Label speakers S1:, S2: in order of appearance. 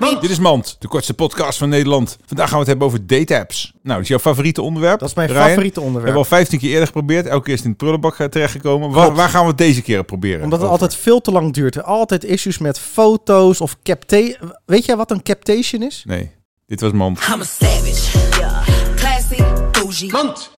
S1: Mand. Dit is Mand, de kortste podcast van Nederland. Vandaag gaan we het hebben over date-apps. Nou, dat is jouw favoriete onderwerp.
S2: Dat is mijn
S1: Ryan.
S2: favoriete
S1: We hebben
S2: onderwerp.
S1: al 15 keer eerder geprobeerd. Elke keer is het in het prullenbak eh, terechtgekomen. Waar,
S2: Klopt.
S1: waar gaan we het deze keer proberen?
S2: Omdat het
S1: Over.
S2: altijd veel te lang duurt. Altijd issues met foto's of captation. Weet jij wat een captation is?
S1: Nee, dit was Mand.
S3: I'm a savage. Classy, bougie.